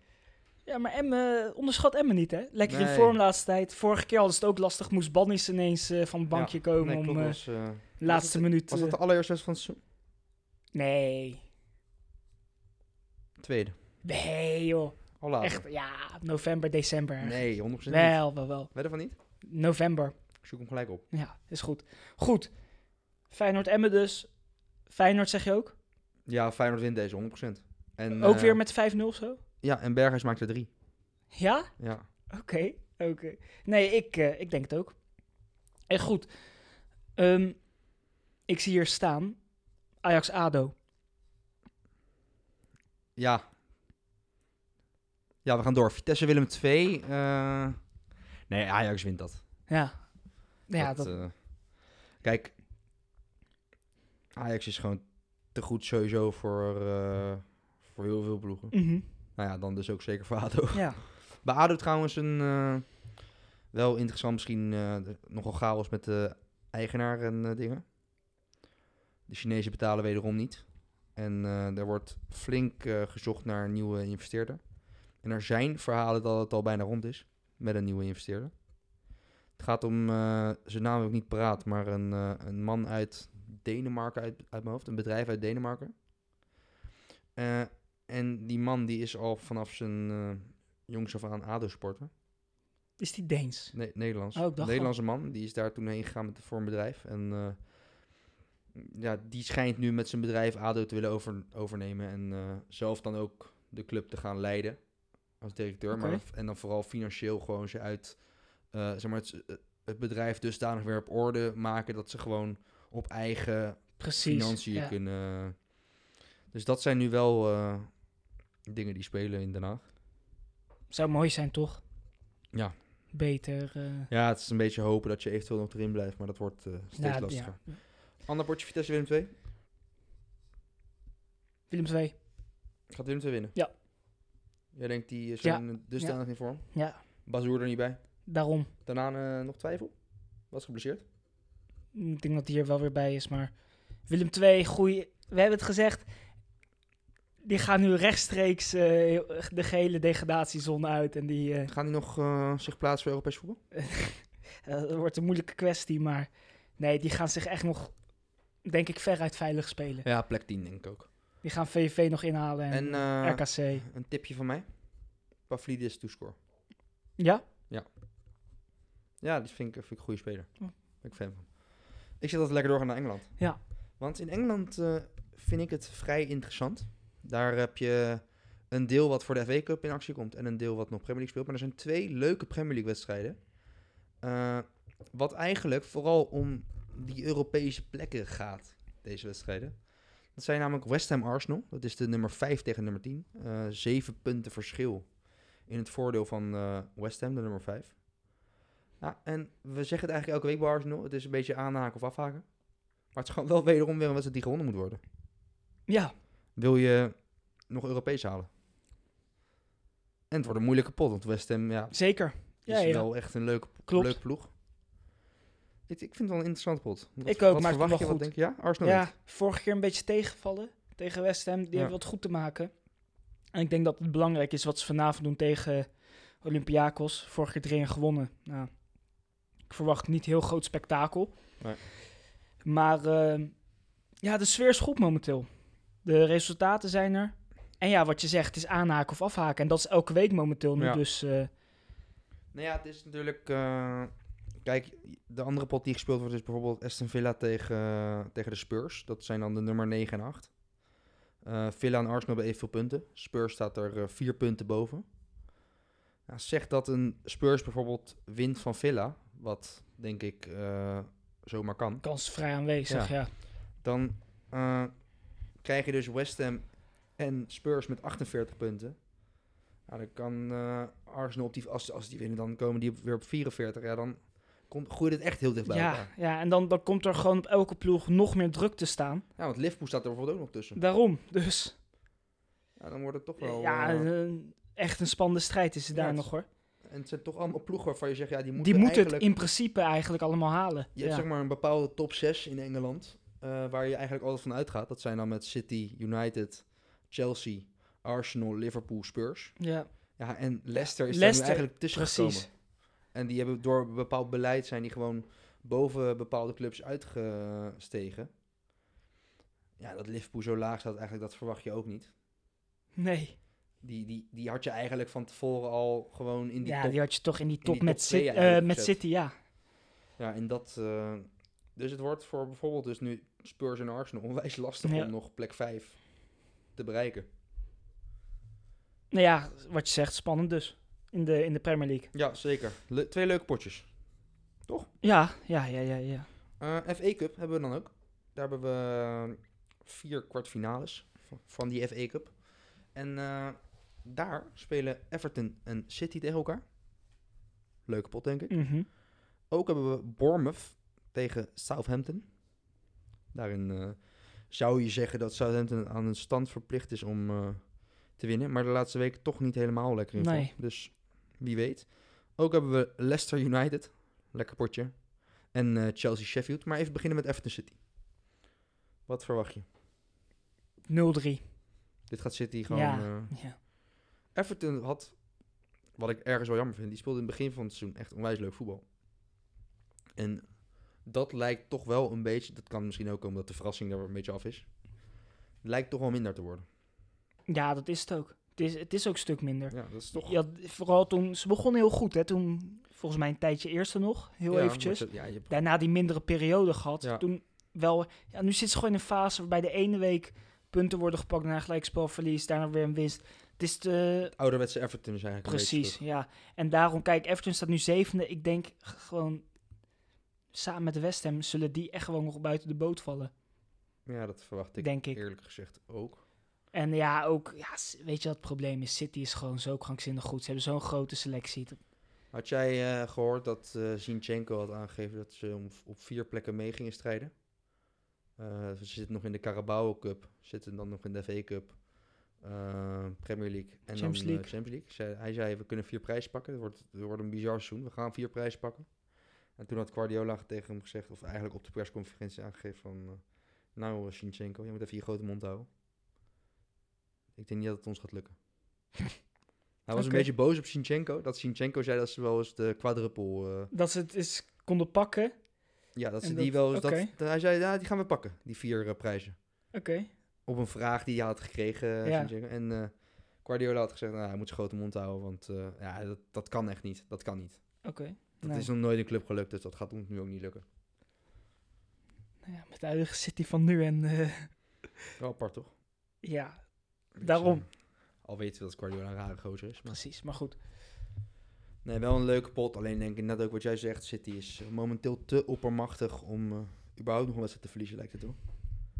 Ja, maar Emmen, onderschat Emmen niet, hè? Lekker in
Nee.
vorm laatste tijd. Vorige keer hadden ze het ook lastig. Moest Bannis ineens eh, van het bankje komen
Nee,
om
klopt.
eh,
was, eh,
de laatste
was
minuut...
was dat
eh,
de allereerste wedstrijd van het seizoen?
Nee.
Tweede.
Nee, joh.
Allereerste.
Echt, ja, november, december.
Nee, 100% niet. Weet
wel, wel, wel.
je van niet?
November.
Ik zoek hem gelijk op.
Ja, is goed. Goed. Feyenoord-Emmen dus. Feyenoord zeg je ook?
Ja, Feyenoord wint deze, 100%. En,
ook
eh,
weer met 5-0 of zo?
Ja, en Berghuis maakt er drie.
Ja?
Ja.
Oké, oké. Nee, ik, eh, ik denk het ook. En goed. Ehm, ik zie hier staan. Ajax-Ado.
Ja. Ja, we gaan door. Vitesse Willem 2. Nee, Ajax wint dat.
Ja. Ja, dat,
eh, kijk, Ajax is gewoon te goed sowieso voor, eh, voor heel veel ploegen.
Mhm.
Nou ja, dan dus ook zeker voor ADO.
ja.
Bij ADO trouwens een, eh, wel interessant misschien eh, de- nogal chaos met de eigenaar en eh, dingen. De Chinezen betalen wederom niet. En eh er wordt flink eh, gezocht naar een nieuwe investeerder. En er zijn verhalen dat het al bijna rond is met een nieuwe investeerder. Het gaat om, eh, zijn naam heb ik niet paraat, maar een, eh, een man uit Denemarken uit, uit mijn hoofd. Een bedrijf uit Denemarken. Eh, en die man die is al vanaf zijn eh, jongs af aan ADO-sporter.
Is die Deens?
Nee, Nederlands.
Oh, ik dacht
Een
al.
Nederlandse man. Die is daar toen heen gegaan met, voor een bedrijf. En eh, ja, die schijnt nu met zijn bedrijf ADO te willen over, overnemen. En eh, zelf dan ook de club te gaan leiden als directeur. Maar,
Oké.
dan- en dan vooral financieel gewoon ze uit... eh, zeg maar het, het bedrijf dusdanig weer op orde maken... dat ze gewoon op eigen
Precies.
financiën
ja.
kunnen... eh, Dus dat zijn nu wel eh, dingen die spelen in Den Haag.
Zou mooi zijn, toch?
Ja.
Beter. eh,
Ja, het is een beetje hopen dat je eventueel nog erin blijft, maar dat wordt eh, steeds
ja,
lastiger.
ja.
Ander potje Vitesse Willem 2.
Willem 2.
Gaat Willem 2 winnen?
Ja.
Jij denkt die is eh, dus zijn dusdanig in vorm?
Ja,
Bazoer er niet bij.
daarom.
Daarna eh, nog twijfel? Was geblesseerd?
Ik denk dat hij er wel weer bij is, maar Willem 2, goeie. We hebben het gezegd. Die gaan nu rechtstreeks eh, de gele degradatiezone uit. En die eh,
Gaan die nog eh, zich plaatsen voor Europees voetbal?
eh, dat wordt een moeilijke kwestie. Maar nee, die gaan zich echt nog, denk ik, veruit veilig spelen.
Ja, plek 10 denk ik ook.
Die gaan VVV nog inhalen
En
en,
eh,
RKC.
een tipje van mij. Pavlidis toescore.
Ja?
Ja, die vind ik, vind ik een goede speler.
Oh.
Ben ik fan van. Ik zit altijd lekker doorgaan naar Engeland.
Ja.
Want in Engeland eh, vind ik het vrij interessant. Daar heb je een deel wat voor de FA Cup in actie komt en een deel wat nog Premier League speelt. Maar er zijn twee leuke Premier League wedstrijden. Eh, wat eigenlijk vooral om die Europese plekken gaat, deze wedstrijden. Dat zijn namelijk West Ham Arsenal. Dat is de nummer 5 tegen nummer 10. Eh, zeven punten verschil in het voordeel van eh, West Ham, de nummer 5. Ja, Nou, en we zeggen het eigenlijk elke week bij Arsenal. Het is een beetje aanhaken of afhaken. Maar het is gewoon wel wederom weer een wedstrijd die gewonnen moet worden.
Ja.
Wil je nog Europees halen? En het wordt een moeilijke pot, want West Ham ja, is
Zeker. Ja, ja.
wel echt een leuke,
Klopt.
leuke ploeg. Ik, ik vind het wel een interessante pot. Wat-
Ik ook,
wat
maar het
verwacht
mag
je? Wat
goed.
denk je? Ja, Arsenal
Ja,
wint.
vorige keer een beetje tegenvallen tegen West Ham. Die
Ja.
hebben wat goed te maken. En ik denk dat het belangrijk is wat ze vanavond doen tegen Olympiakos. Vorige keer 3-1 gewonnen. Nou, ik verwacht niet heel groot spektakel.
Nee.
Maar eh, ja, de sfeer is goed momenteel. De resultaten zijn er. En ja, wat je zegt, het is aanhaken of afhaken. En dat is elke week momenteel nu.
Ja.
Dus eh,
Nou ja, het is natuurlijk... eh, kijk, de andere pot die gespeeld wordt is bijvoorbeeld Aston Villa tegen, eh, tegen de Spurs. Dat zijn dan de nummer 9 en 8. Eh, Villa en Arsenal hebben evenveel punten. Spurs staat er eh, vier punten boven. Nou, zeg dat een Spurs bijvoorbeeld wint van Villa, wat denk ik eh, zomaar kan.
kans is vrij aanwezig, ja.
Dan eh, krijg je dus West Ham en Spurs met 48 punten. Nou, dan kan eh, Arsenal, op die, als, als die winnen, dan komen die op- weer op 44. Ja, dan komt, groeit het echt heel dicht bij
Ja,
elkaar.
ja en dan, dan komt er gewoon op elke ploeg nog meer druk te staan.
Ja, want Liverpool staat er bijvoorbeeld ook nog tussen.
Daarom, dus...
Ja, dan wordt het toch wel...
ja,
eh,
een- echt een spannende strijd is het
Ja,
daar
het
nog hoor.
en het zijn toch allemaal ploegen waarvan je zegt, ja, die moeten
Die moeten het
eigenlijk...
in principe eigenlijk allemaal halen.
Je hebt
ja.
zeg maar een bepaalde top 6 in Engeland, eh, waar je eigenlijk altijd van uitgaat. Dat zijn dan met City, United, Chelsea, Arsenal, Liverpool, Spurs.
ja,
Ja, en Leicester is daar
Leicester,
nu eigenlijk tussen
precies.
gekomen. En die hebben door een bepaald beleid zijn die gewoon boven bepaalde clubs uitgestegen. Ja, dat Liverpool zo laag staat eigenlijk, dat verwacht je ook niet.
Nee.
Die, die, die had je eigenlijk van tevoren al gewoon in die
ja,
top.
die had je toch in die top,
top
met,
twee
Cit- eh,
eigenlijk
met
gezet.
City, ja.
Ja, en dat... eh, dus het wordt voor bijvoorbeeld dus nu Spurs en Arsenal onwijs lastig
Ja.
om nog plek 5 te bereiken.
Nou ja, wat je zegt, spannend dus. In de, in de Premier League.
Ja, zeker. Le- twee leuke potjes.
Ja, ja, ja, ja. ja.
Eh, FA Cup hebben we dan ook. Daar hebben we eh, vier kwartfinales van, van die FA Cup. En eh, daar spelen Everton en City tegen elkaar. Leuke pot, denk ik.
Mhm.
Ook hebben we Bournemouth tegen Southampton. Daarin eh, zou je zeggen dat Southampton aan een stand verplicht is om eh, te winnen. Maar de laatste week toch niet helemaal lekker in vorm.
Nee.
Dus wie weet. Ook hebben we Leicester United. Lekker potje. En eh, Chelsea Sheffield. Maar even beginnen met Everton City. Wat verwacht je?
0-3.
Dit gaat City gewoon...
Ja.
eh,
Ja.
Everton had, wat ik ergens wel jammer vind, die speelde in het begin van het seizoen echt onwijs leuk voetbal. En dat lijkt toch wel een beetje... Dat kan misschien ook omdat de verrassing er een beetje af is. Lijkt toch wel minder te worden.
Ja, dat is het ook. Het is, het is ook een stuk minder.
Ja, dat is toch...
Ja, vooral toen ze begon heel goed, hè? Toen volgens mij een tijdje eerste nog, heel
Ja,
eventjes.
maar ze- ja, je hebt-
Daarna die mindere periode gehad.
Ja.
Toen wel. Ja, nu zit ze gewoon in een fase waarbij de ene week punten worden gepakt, daarna gelijkspelverlies, daarna weer een winst. Het is te,
ouderwetse Everton is eigenlijk een beetje
Precies, ja. En daarom, kijk, Everton staat nu zevende. Ik denk g- gewoon, samen met West Ham zullen die echt gewoon nog buiten de boot vallen,
terug. Ja, dat verwacht ik
denk ik.
eerlijk gezegd ook.
En ja, ook, ja, s- weet je wat het probleem is? City is gewoon zo krankzinnig goed. Ze hebben zo'n grote selectie. Dat-
Had jij eh, gehoord dat eh Zinchenko had aangegeven dat ze om, op vier plekken mee gingen strijden? Eh, ze zitten nog in de Carabao Cup, zitten dan nog in de FA Cup, eh, Premier League en
Champions
dan, eh,
League.
Champions League. Zei- hij zei, we kunnen vier prijzen pakken, het wordt, het wordt een bizar seizoen, we gaan vier prijzen pakken. En toen had Guardiola tegen hem gezegd, of eigenlijk op de persconferentie aangegeven van... eh, nou, eh, Zinchenko, je moet even je grote mond houden. Ik denk niet dat het ons gaat lukken. Hij was
Oké.
een beetje boos op Sinchenko. Dat Sinchenko zei dat ze wel eens de quadruple... eh,
Dat ze het eens konden pakken. Oké.
ja, dat ze
En
die
dat-
wel eens...
oké.
Dat, hij zei, ja, die gaan we pakken, die vier eh, prijzen. Op een vraag die hij had gekregen, eh,
Ja.
Zinchenko. En eh, Guardiola had gezegd, nou, hij moet zijn grote mond houden. Want eh, ja, dat, dat kan echt niet. Dat kan niet.
Oké.
Dat
Nou,
is nog nooit een club gelukt, dus dat gaat ons nu ook niet lukken.
nou ja, met de huidige City van nu en eh,
Wel apart, toch?
ja,
Dus,
Daarom.
eh, al weten we dat Guardiola een rare gozer is. Maar...
precies. Maar goed,
Nee, wel een leuke pot. Alleen denk ik net ook wat jij zegt. City is eh, momenteel te oppermachtig om eh, überhaupt nog een wedstrijd te verliezen, lijkt het toch?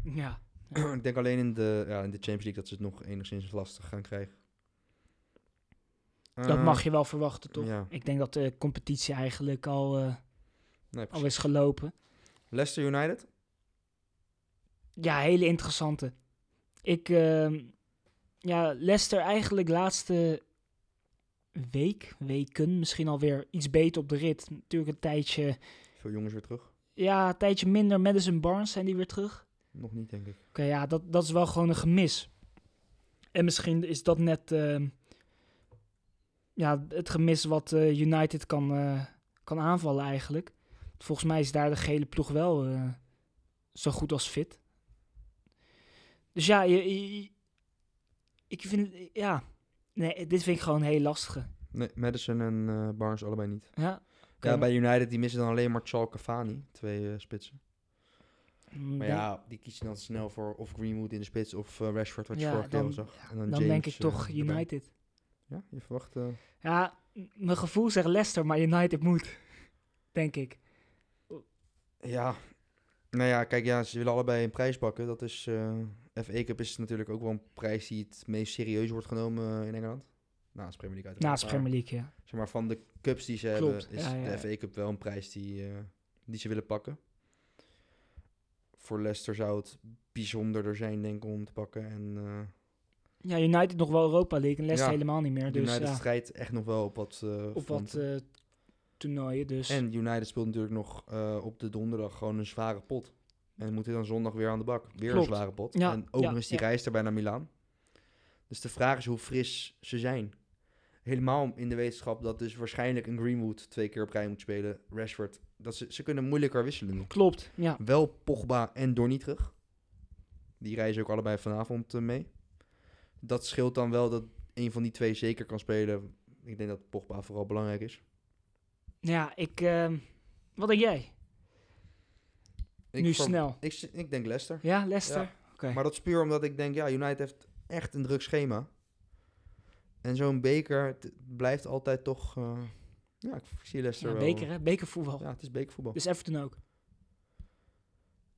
ja.
ik denk alleen in de, ja, in de Champions League dat ze het nog enigszins lastig gaan krijgen. Eh,
Dat mag je wel verwachten, toch?
Mhm. Ja,
Ik denk dat de competitie eigenlijk al, eh,
nee,
al
precies.
is gelopen.
Leicester United?
Ja, hele interessante. Ik, ehm, ja, Leicester eigenlijk laatste week, weken misschien alweer iets beter op de rit. Natuurlijk een tijdje,
Veel jongens weer terug.
ja, een tijdje minder. Madison Barnes zijn die weer terug.
Nog niet, denk ik.
Oké, ja, dat, dat is wel gewoon een gemis. En misschien is dat net, ehm, ja, het gemis wat eh, United kan, eh, kan aanvallen eigenlijk. Volgens mij is daar de gele ploeg wel eh, zo goed als fit. Dus ja, je, je- je- ik vind, ja, nee, dit vind ik gewoon heel lastig.
Nee, Madison en eh, Barnes allebei niet.
Ja,
Ja, bij United die missen dan alleen maar Charles Cavani. Twee eh, spitsen.
Mm,
Maar
dan-
ja, die kiezen dan snel voor of Greenwood in de spits of eh, Rashford, wat je
Ja,
vorige keer al
dan-
zag. En
dan
James,
denk ik
eh,
toch
erbij.
United.
Ja, je verwacht... eh,
Ja, m- mijn gevoel zegt Leicester, maar United moet, denk ik.
Ja, nou ja, kijk, ja, ze willen allebei een prijs pakken. Dat is, eh FA Cup is natuurlijk ook wel een prijs die het meest serieus wordt genomen eh, in Engeland. Naast Premier League uiteraard.
Naast
Maar,
Premier League, ja.
Zeg maar, van de cups die ze
Klopt,
hebben, is
ja, ja, ja.
de FA Cup wel een prijs die, eh, die ze willen pakken. Voor Leicester zou het bijzonderder zijn, denk ik, om hem te pakken. En eh
Ja, United nog wel Europa League en Leicester
Ja,
helemaal niet meer. Dus
United
ja,
strijdt echt nog wel op wat... eh,
op
fronten.
wat eh, toernooien. Dus
En United speelt natuurlijk nog eh, op de donderdag gewoon een zware pot. En moet hij dan zondag weer aan de bak. Weer
Klopt.
een zware pot.
Ja,
en ook
ja,
nog eens die
ja.
reis erbij naar Milaan. Dus de vraag is hoe fris ze zijn. Helemaal in de wetenschap dat dus waarschijnlijk een Greenwood twee keer op rij moet spelen. Rashford. Dat ze, ze kunnen moeilijker wisselen. nog.
klopt, ja.
Wel Pogba en Donny terug. Die reizen ook allebei vanavond eh, mee. Dat scheelt dan wel dat een van die twee zeker kan spelen. Ik denk dat Pogba vooral belangrijk is.
Ja, ik... ehm, wat denk jij?
Ik
nu
ver-
snel.
Ik, s- ik denk Leicester.
Ja, Leicester?
Maar dat is puur omdat ik denk, ja, United heeft echt een druk schema. En zo'n beker het blijft altijd toch... eh, ja, ik zie Leicester
Ja,
wel.
beker, hè? Bekervoetbal.
Ja, het is bekervoetbal.
Dus Everton ook.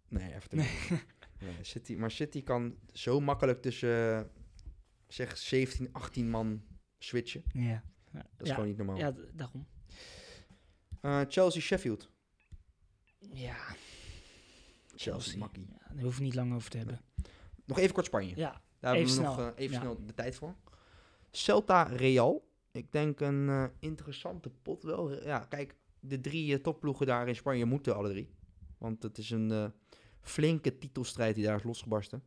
Nee, even nee, City, Maar City kan zo makkelijk tussen, eh, zeg, 17, 18 man switchen.
Ja. Ja,
Dat is gewoon niet normaal.
ja, d- daarom.
Eh, Chelsea-Sheffield.
Ja.
Chelsea, makkie.
Ja, daar hoef ik niet lang over te hebben.
Nog even kort Spanje.
Ja,
Daar hebben
Even
we nog
snel,
eh, even
ja.
snel de tijd voor. Celta Real. Ik denk een eh, interessante pot wel. Ja, kijk, de drie eh, topploegen daar in Spanje moeten alle drie. Want het is een eh, flinke titelstrijd die daar is losgebarsten.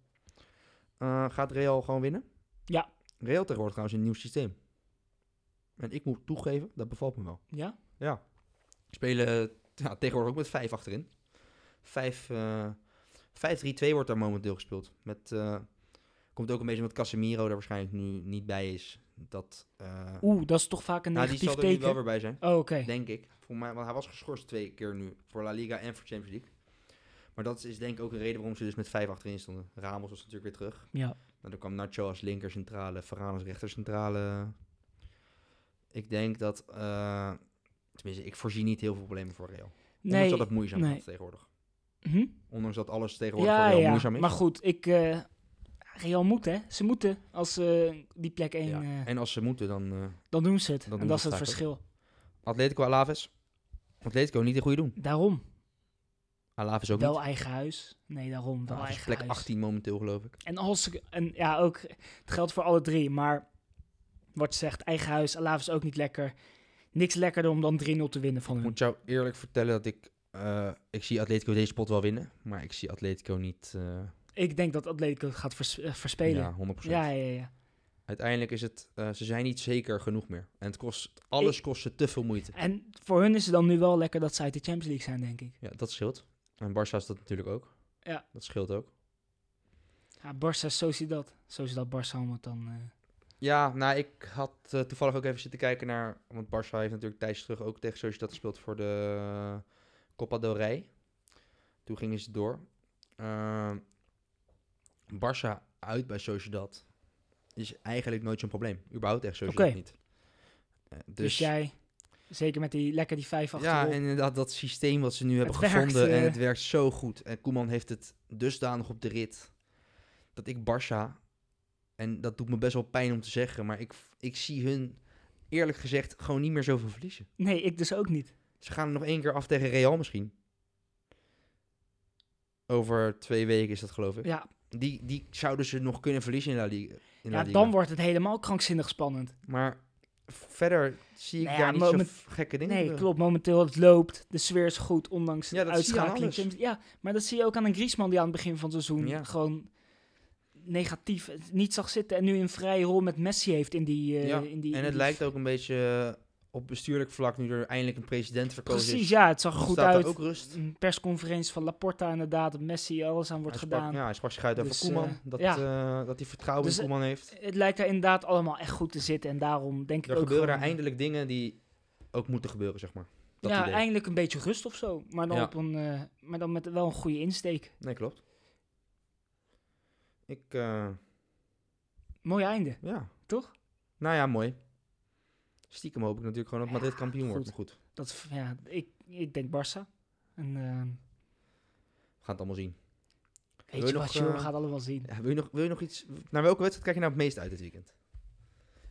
Eh, gaat Real gewoon winnen?
Ja.
Real tegenwoordig trouwens een nieuw systeem. En ik moet toegeven, dat bevalt me wel.
ja?
Ja. Spelen eh, ja, tegenwoordig ook met vijf achterin. Vijf, eh, 5-3-2 wordt daar momenteel gespeeld. Met, eh, komt ook een beetje omdat Casemiro er waarschijnlijk nu niet bij is. Dat, eh,
Oeh, dat is toch vaak een
nou, die
negatief
zal er nu wel
teken.
weer bij zijn.
Oh, oké.
Denk ik. Voor mij, want hij was geschorst twee keer nu. Voor La Liga en voor Champions League. Maar dat is denk ik ook een reden waarom ze dus met vijf achterin stonden. Ramos was natuurlijk weer terug.
Ja.
Nou, dan kwam Nacho als linker centrale, Varane als rechter centrale. Ik denk dat... eh, tenminste, ik voorzie niet heel veel problemen voor Real. Ondanks
Nee.
dat het moeizaam
nee.
gaat tegenwoordig.
Hm?
Ondanks dat alles tegenwoordig
Ja,
voor Real
ja.
moeizaam is.
Maar goed, ik... eh, Real moet, hè. Ze moeten. Als ze die plek 1...
Ja, En als ze moeten, dan... eh,
dan doen ze het.
Dan
en
doen
dat is
ze
het
het vaak
verschil.
Atletico Alaves. Atletico niet de goede doen.
Daarom.
Alaves ook
wel
niet.
eigen huis. Nee, daarom. Wel
Alaves is
eigen
plek
huis.
18 momenteel, geloof ik.
En als ze- en ja, ook het geldt voor alle drie, maar wat je zegt, eigen huis, Alaves ook niet lekker. Niks lekkerder om dan 3-0 te winnen van
Ik
hun.
moet jou eerlijk vertellen dat ik... eh, ik zie Atletico deze pot wel winnen. Maar ik zie Atletico niet... eh,
Ik denk dat Atletico het gaat vers- eh, verspelen.
Ja, 100%.
Ja, ja, ja.
Uiteindelijk is het... eh, ze zijn niet zeker genoeg meer. En het kost, alles kost ze te veel moeite.
En voor hun is het dan nu wel lekker dat ze uit de Champions League zijn, denk ik.
Ja, dat scheelt. En Barça is dat natuurlijk ook.
Ja.
Dat scheelt ook.
Ja, Barça, Sociedad. Sociedad, Barça, om het dan... eh,
Ja, nou, ik had eh, toevallig ook even zitten kijken naar... Want Barça heeft natuurlijk tijdens terug ook tegen Sociedad gespeeld voor de eh, Copa del Rey. Toen gingen ze door. Ehm Barça uit bij Sociedad is eigenlijk nooit zo'n probleem. Überhaupt echt Sociedad
Oké.
niet. Eh, dus,
dus, jij, zeker met die, lekker die vijf achterop.
Ja, en dat, dat systeem wat ze nu hebben
Het werkt,
gevonden.
eh.
En het werkt zo goed. En Koeman heeft het dusdanig op de rit. Dat ik Barça. En dat doet me best wel pijn om te zeggen. Maar ik, ik zie hun eerlijk gezegd gewoon niet meer zoveel verliezen.
Nee, ik dus ook niet.
Ze gaan er nog één keer af tegen Real misschien. Over twee weken is dat geloof ik.
Ja,
Die, die zouden ze nog kunnen verliezen in La Liga. In La
ja
Liga.
dan wordt het helemaal krankzinnig spannend.
Maar verder zie ik
Nou ja,
daar niet
moment-
zo gekke dingen.
Nee,
gebeuren.
klopt. Momenteel het loopt. De sfeer is goed, ondanks
Ja,
de
dat zie je aan
uitschakeling.
alles.
Ja, maar dat zie je ook aan een Griezmann die aan het begin van het seizoen
Ja.
gewoon negatief het niet zag zitten. En nu een vrije rol met Messi heeft in die... eh,
Ja,
in die in
En het
die-
lijkt ook een beetje eh, op bestuurlijk vlak, nu er eindelijk een president verkozen
Precies,
is.
ja. Het zag er goed
staat
uit.
er ook rust.
Een persconferentie van Laporta inderdaad. dat Messi alles aan
hij
wordt gedaan.
Sprak, ja, hij sprak zich uit over
Dus,
Koeman.
eh,
dat,
ja.
eh, dat hij vertrouwen
Dus,
in
eh,
Koeman heeft.
Het lijkt daar inderdaad allemaal echt goed te zitten. En daarom denk ik
Er
ook
gebeuren daar
gewoon-
eindelijk dingen die ook moeten gebeuren, zeg maar. Dat
ja,
idee.
eindelijk een beetje rust of zo. Maar dan,
Ja.
op een, eh, maar dan met wel een goede insteek.
Nee, klopt. Ik, eh,
Mooi einde,
ja.
toch?
Nou ja, mooi. Stiekem hoop ik natuurlijk gewoon dat
Ja,
Madrid kampioen wordt.
goed.
Maar goed,
Dat, is- ja, ik, ik denk Barça. En, ehm,
we gaan het allemaal zien.
weet
je
je,
nog,
wat, joh,
eh,
we gaan allemaal zien.
Ja, wil, je nog, wil je nog iets... Naar welke wedstrijd kijk je nou het meest uit dit weekend?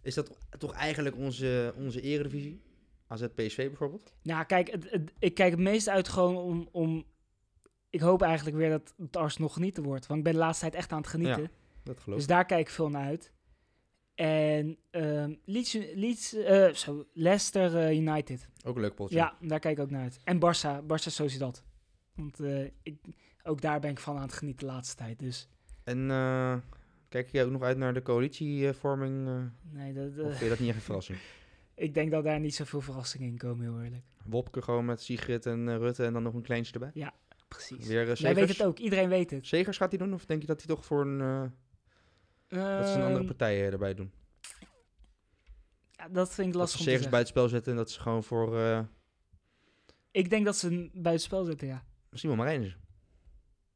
Is dat toch eigenlijk onze, onze eredivisie? AZ PSV bijvoorbeeld?
Nou, kijk, het, het- ik kijk het meest uit gewoon om, om... Ik hoop eigenlijk weer dat het Arsenal genieten wordt. Want ik ben de laatste tijd echt aan het genieten.
Dat geloof
dus
ik.
daar kijk ik veel naar uit. En ehm Leeds, Leeds, eh, zo, Leicester eh, United.
Ook een leuk potje.
Ja, daar kijk ik ook naar uit. En Barça, Barça Sociedad. Want eh, ik, ook daar ben ik van aan het genieten de laatste tijd. Dus
En eh, kijk je ook nog uit naar de coalitievorming? eh
nee, dat,
of
eh,
vind je dat niet echt een verrassing?
ik denk dat daar niet zoveel verrassingen in komen, heel eerlijk.
Wopke gewoon met Sigrid en eh, Rutte en dan nog een kleintje erbij?
Precies.
Weer eh,
Jij weet
Segers?
het ook, iedereen weet het.
Segers gaat hij doen? Of denk je dat hij toch voor een... eh, dat ze een andere
Ehm,
partij eh, erbij doen?
ja, dat vind
Dat
ik
ze
lastig om te
Segers
zeggen.
bij het spel zetten en dat ze gewoon voor... eh
Ik denk dat ze hem bij het spel zitten, ja.
Simon Marijnissen.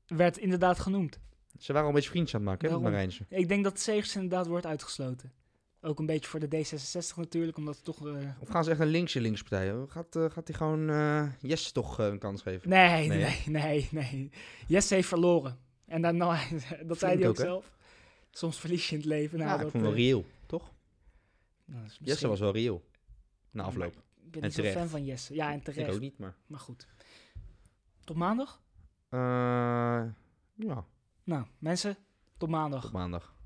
Werd inderdaad genoemd.
Ze waren al een beetje vriendjes aan het maken, hè, met
Daarom.
Marijnissen.
Ik denk dat Segers inderdaad wordt uitgesloten. Ook een beetje voor de D66 natuurlijk, omdat het toch... eh,
Of gaan ze echt een linkse linkspartij? hè? Gaat, eh, gaat hij gewoon eh Jesse toch eh, een kans geven?
Nee,
Nee,
nee, nee, nee. Jesse heeft verloren. En daarna, dat zei hij ook,
ook, hè?
zelf. Soms verlies je in het leven. Nou,
ja, ik
dat,
vond hem
eh,
wel reëel, toch?
nou, dat is
Jesse
misschien-
was wel reëel. Na
Ja,
afloop.
maar Ik ben
En
niet zo'n
terecht.
fan van Jesse. Ja, en
Ik
terecht.
ook niet, maar...
Maar goed. Tot maandag?
Eh, ja,
Nou, mensen, tot maandag.
op maandag.